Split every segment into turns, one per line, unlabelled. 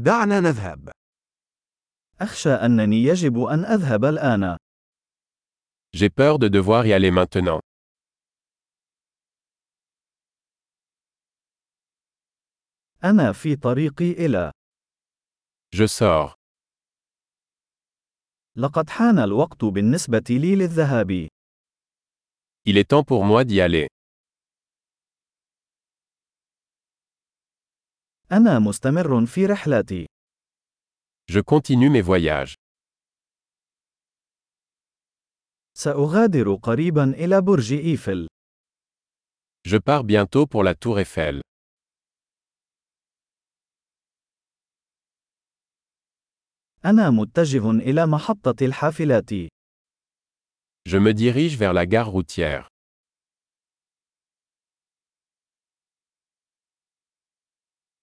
دعنا نذهب.
أخشى أنني يجب أن أذهب الآن.
J'ai peur de devoir y aller maintenant.
أنا في طريقي إلى.
Je sors.
لقد حان الوقت بالنسبة لي للذهاب.
Il est temps pour moi d'y aller.
أنا مستمر في رحلتي.
Je continue mes voyages.
سأغادر قريبا إلى برج إيفل.
Je pars bientôt pour la tour Eiffel.
أنا متجه إلى محطة الحافلات.
Je me dirige vers la gare routière.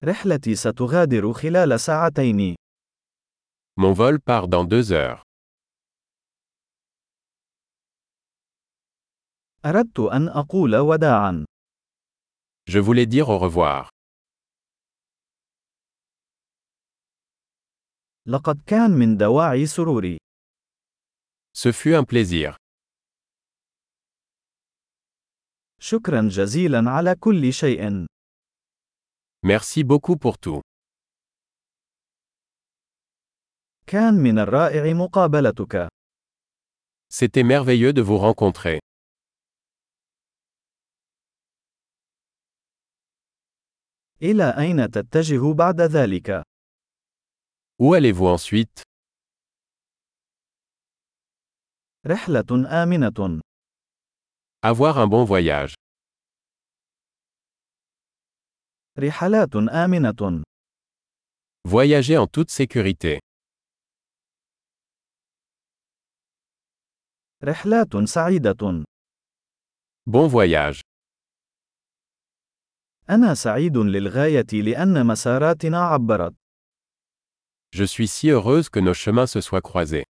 رحلتي ستغادر خلال ساعتين.
Mon vol part dans deux heures.
أردت أن أقول وداعا.
Je voulais dire au revoir.
لقد كان من دواعي سروري.
Ce fut un plaisir.
شكرا جزيلا على كل شيء.
Merci beaucoup pour tout.
كان من الرائع مقابلتك.
C'était merveilleux de vous rencontrer.
إلى أين تتجه بعد ذلك؟
Où allez-vous ensuite
رحلة آمنة.
Avoir un bon voyage.
رحلات آمنة.
Voyager en toute sécurité.
رحلات سعيدة.
Bon voyage.
أنا سعيد للغاية لأن مساراتنا عبرت.
Je suis si heureuse que nos chemins se soient croisés.